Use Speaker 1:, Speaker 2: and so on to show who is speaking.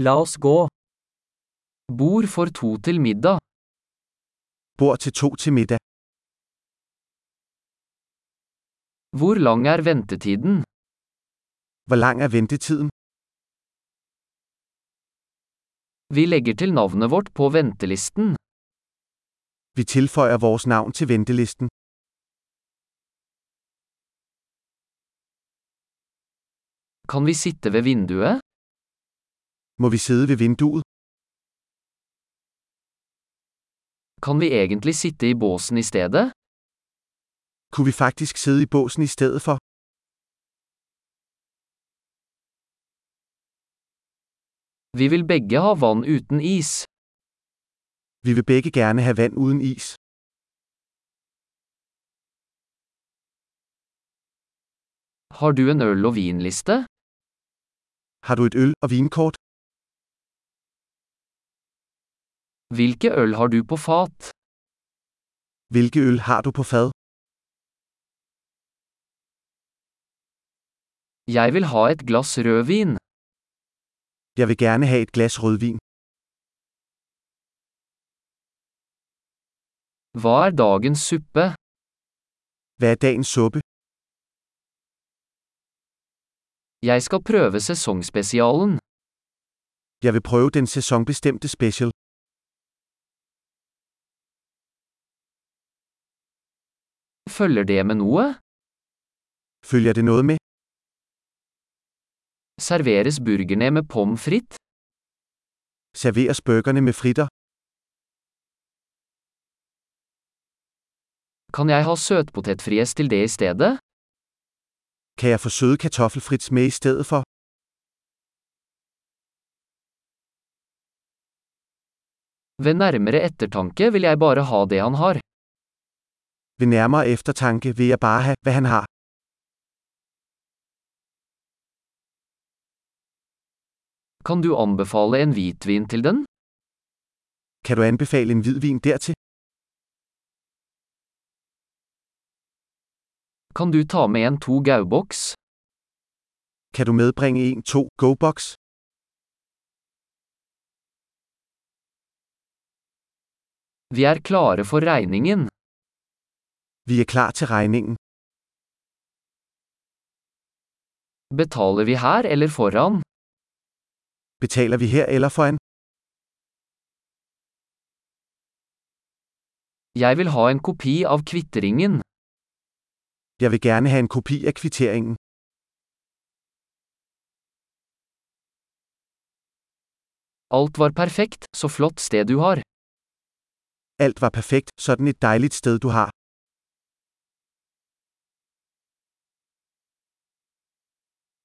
Speaker 1: La oss gå. Bord for to til middag.
Speaker 2: Bord til to til middag.
Speaker 1: Hvor lang er ventetiden?
Speaker 2: Hvor lang er ventetiden?
Speaker 1: Vi legger til navnet vårt på ventelisten.
Speaker 2: Vi tilføjer vores navn til ventelisten.
Speaker 1: Kan vi sitte ved vinduet?
Speaker 2: Må vi sidde ved vinduet?
Speaker 1: Kan vi egentlig sitte i båsen i stedet?
Speaker 2: Kunne vi faktisk sidde i båsen i stedet for?
Speaker 1: Vi vil begge ha vann uten is.
Speaker 2: Vi vil begge gerne have vand uden is.
Speaker 1: Har du en øl- og vinliste?
Speaker 2: Har du et øl- og vinkort?
Speaker 1: Hvilke øl har du på fat?
Speaker 2: Hvilke øl har du på fad?
Speaker 1: Jeg vil ha et glass rødvin.
Speaker 2: Jeg vil gerne have et glas rødvin.
Speaker 1: Hva er dagens suppe?
Speaker 2: Hvad er dagens suppe?
Speaker 1: Jeg skal prøve sesongspesialen.
Speaker 2: Jeg vil prøve den sæsonbestemte special.
Speaker 1: Følger det med noe?
Speaker 2: Følger det noget med?
Speaker 1: Serveres burgerne med pommes frites?
Speaker 2: Serveres burgerne med fritter?
Speaker 1: Kan jeg ha søtpotetfries til det i stedet?
Speaker 2: Kan jeg få søde kartoffelfrits med i stedet for?
Speaker 1: Ved nærmere ettertanke vil jeg bare ha det han har.
Speaker 2: Ved nærmere eftertanke vil jeg bare have, hvad han har.
Speaker 1: Kan du anbefale en hvitvin til den?
Speaker 2: Kan du anbefale en hvidvin dertil?
Speaker 1: Kan du ta med en to gauboks?
Speaker 2: Kan du medbringe en 2 GoBox?
Speaker 1: Vi er klare for regningen.
Speaker 2: Vi er klar til regningen.
Speaker 1: Betaler vi her eller foran?
Speaker 2: Betaler vi her eller foran?
Speaker 1: Jeg vil ha en kopi av kvitteringen.
Speaker 2: Jeg vil gerne have en kopi af kvitteringen.
Speaker 1: Alt var perfekt, så flott sted du har.
Speaker 2: Alt var perfekt, sådan et dejligt sted du har.